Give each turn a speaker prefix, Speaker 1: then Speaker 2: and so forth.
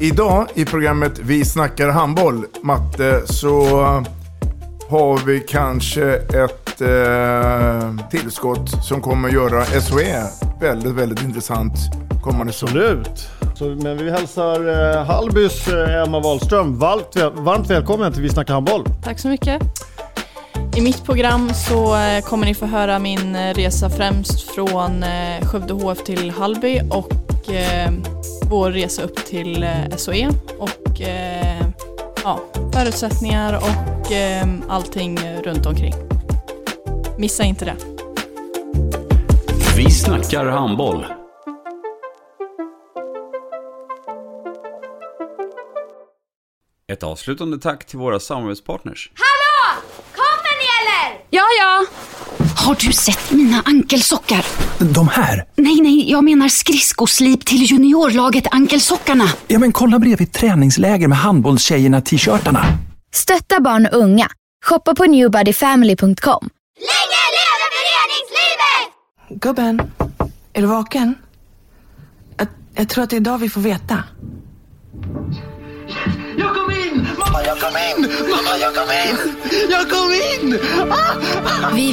Speaker 1: Idag i programmet Vi snackar handboll, Matte, så har vi kanske ett eh, tillskott som kommer att göra SOE väldigt, väldigt intressant kommande säsong.
Speaker 2: Absolut. Så, men vi hälsar eh, Hallbys eh, Emma Wahlström varmt, väl, varmt välkommen till Vi snackar handboll.
Speaker 3: Tack så mycket. I mitt program så eh, kommer ni få höra min eh, resa främst från eh, Skövde HF till Hallby och eh, vår resa upp till eh, SOE och eh, ja, förutsättningar och eh, allting runt omkring. Missa inte det.
Speaker 4: Vi snackar handboll. Ett avslutande tack till våra samarbetspartners.
Speaker 5: Hallå! Kommer ni eller?
Speaker 6: Ja, ja. Har du sett mina ankelsockar?
Speaker 7: De här?
Speaker 6: Nej, nej, jag menar skridskoslip till juniorlaget Ankelsockarna.
Speaker 7: Ja, men kolla bredvid träningsläger med handbollstjejerna-t-shirtarna.
Speaker 8: Stötta barn och unga. Shoppa på newbodyfamily.com.
Speaker 5: Länge leve föreningslivet!
Speaker 9: Gubben, är du vaken? Jag, jag tror att det är idag vi får veta.
Speaker 10: Jag kom in! Mamma, jag kom in! Mamma, jag kom in! Jag kom in! Ah!
Speaker 6: Vi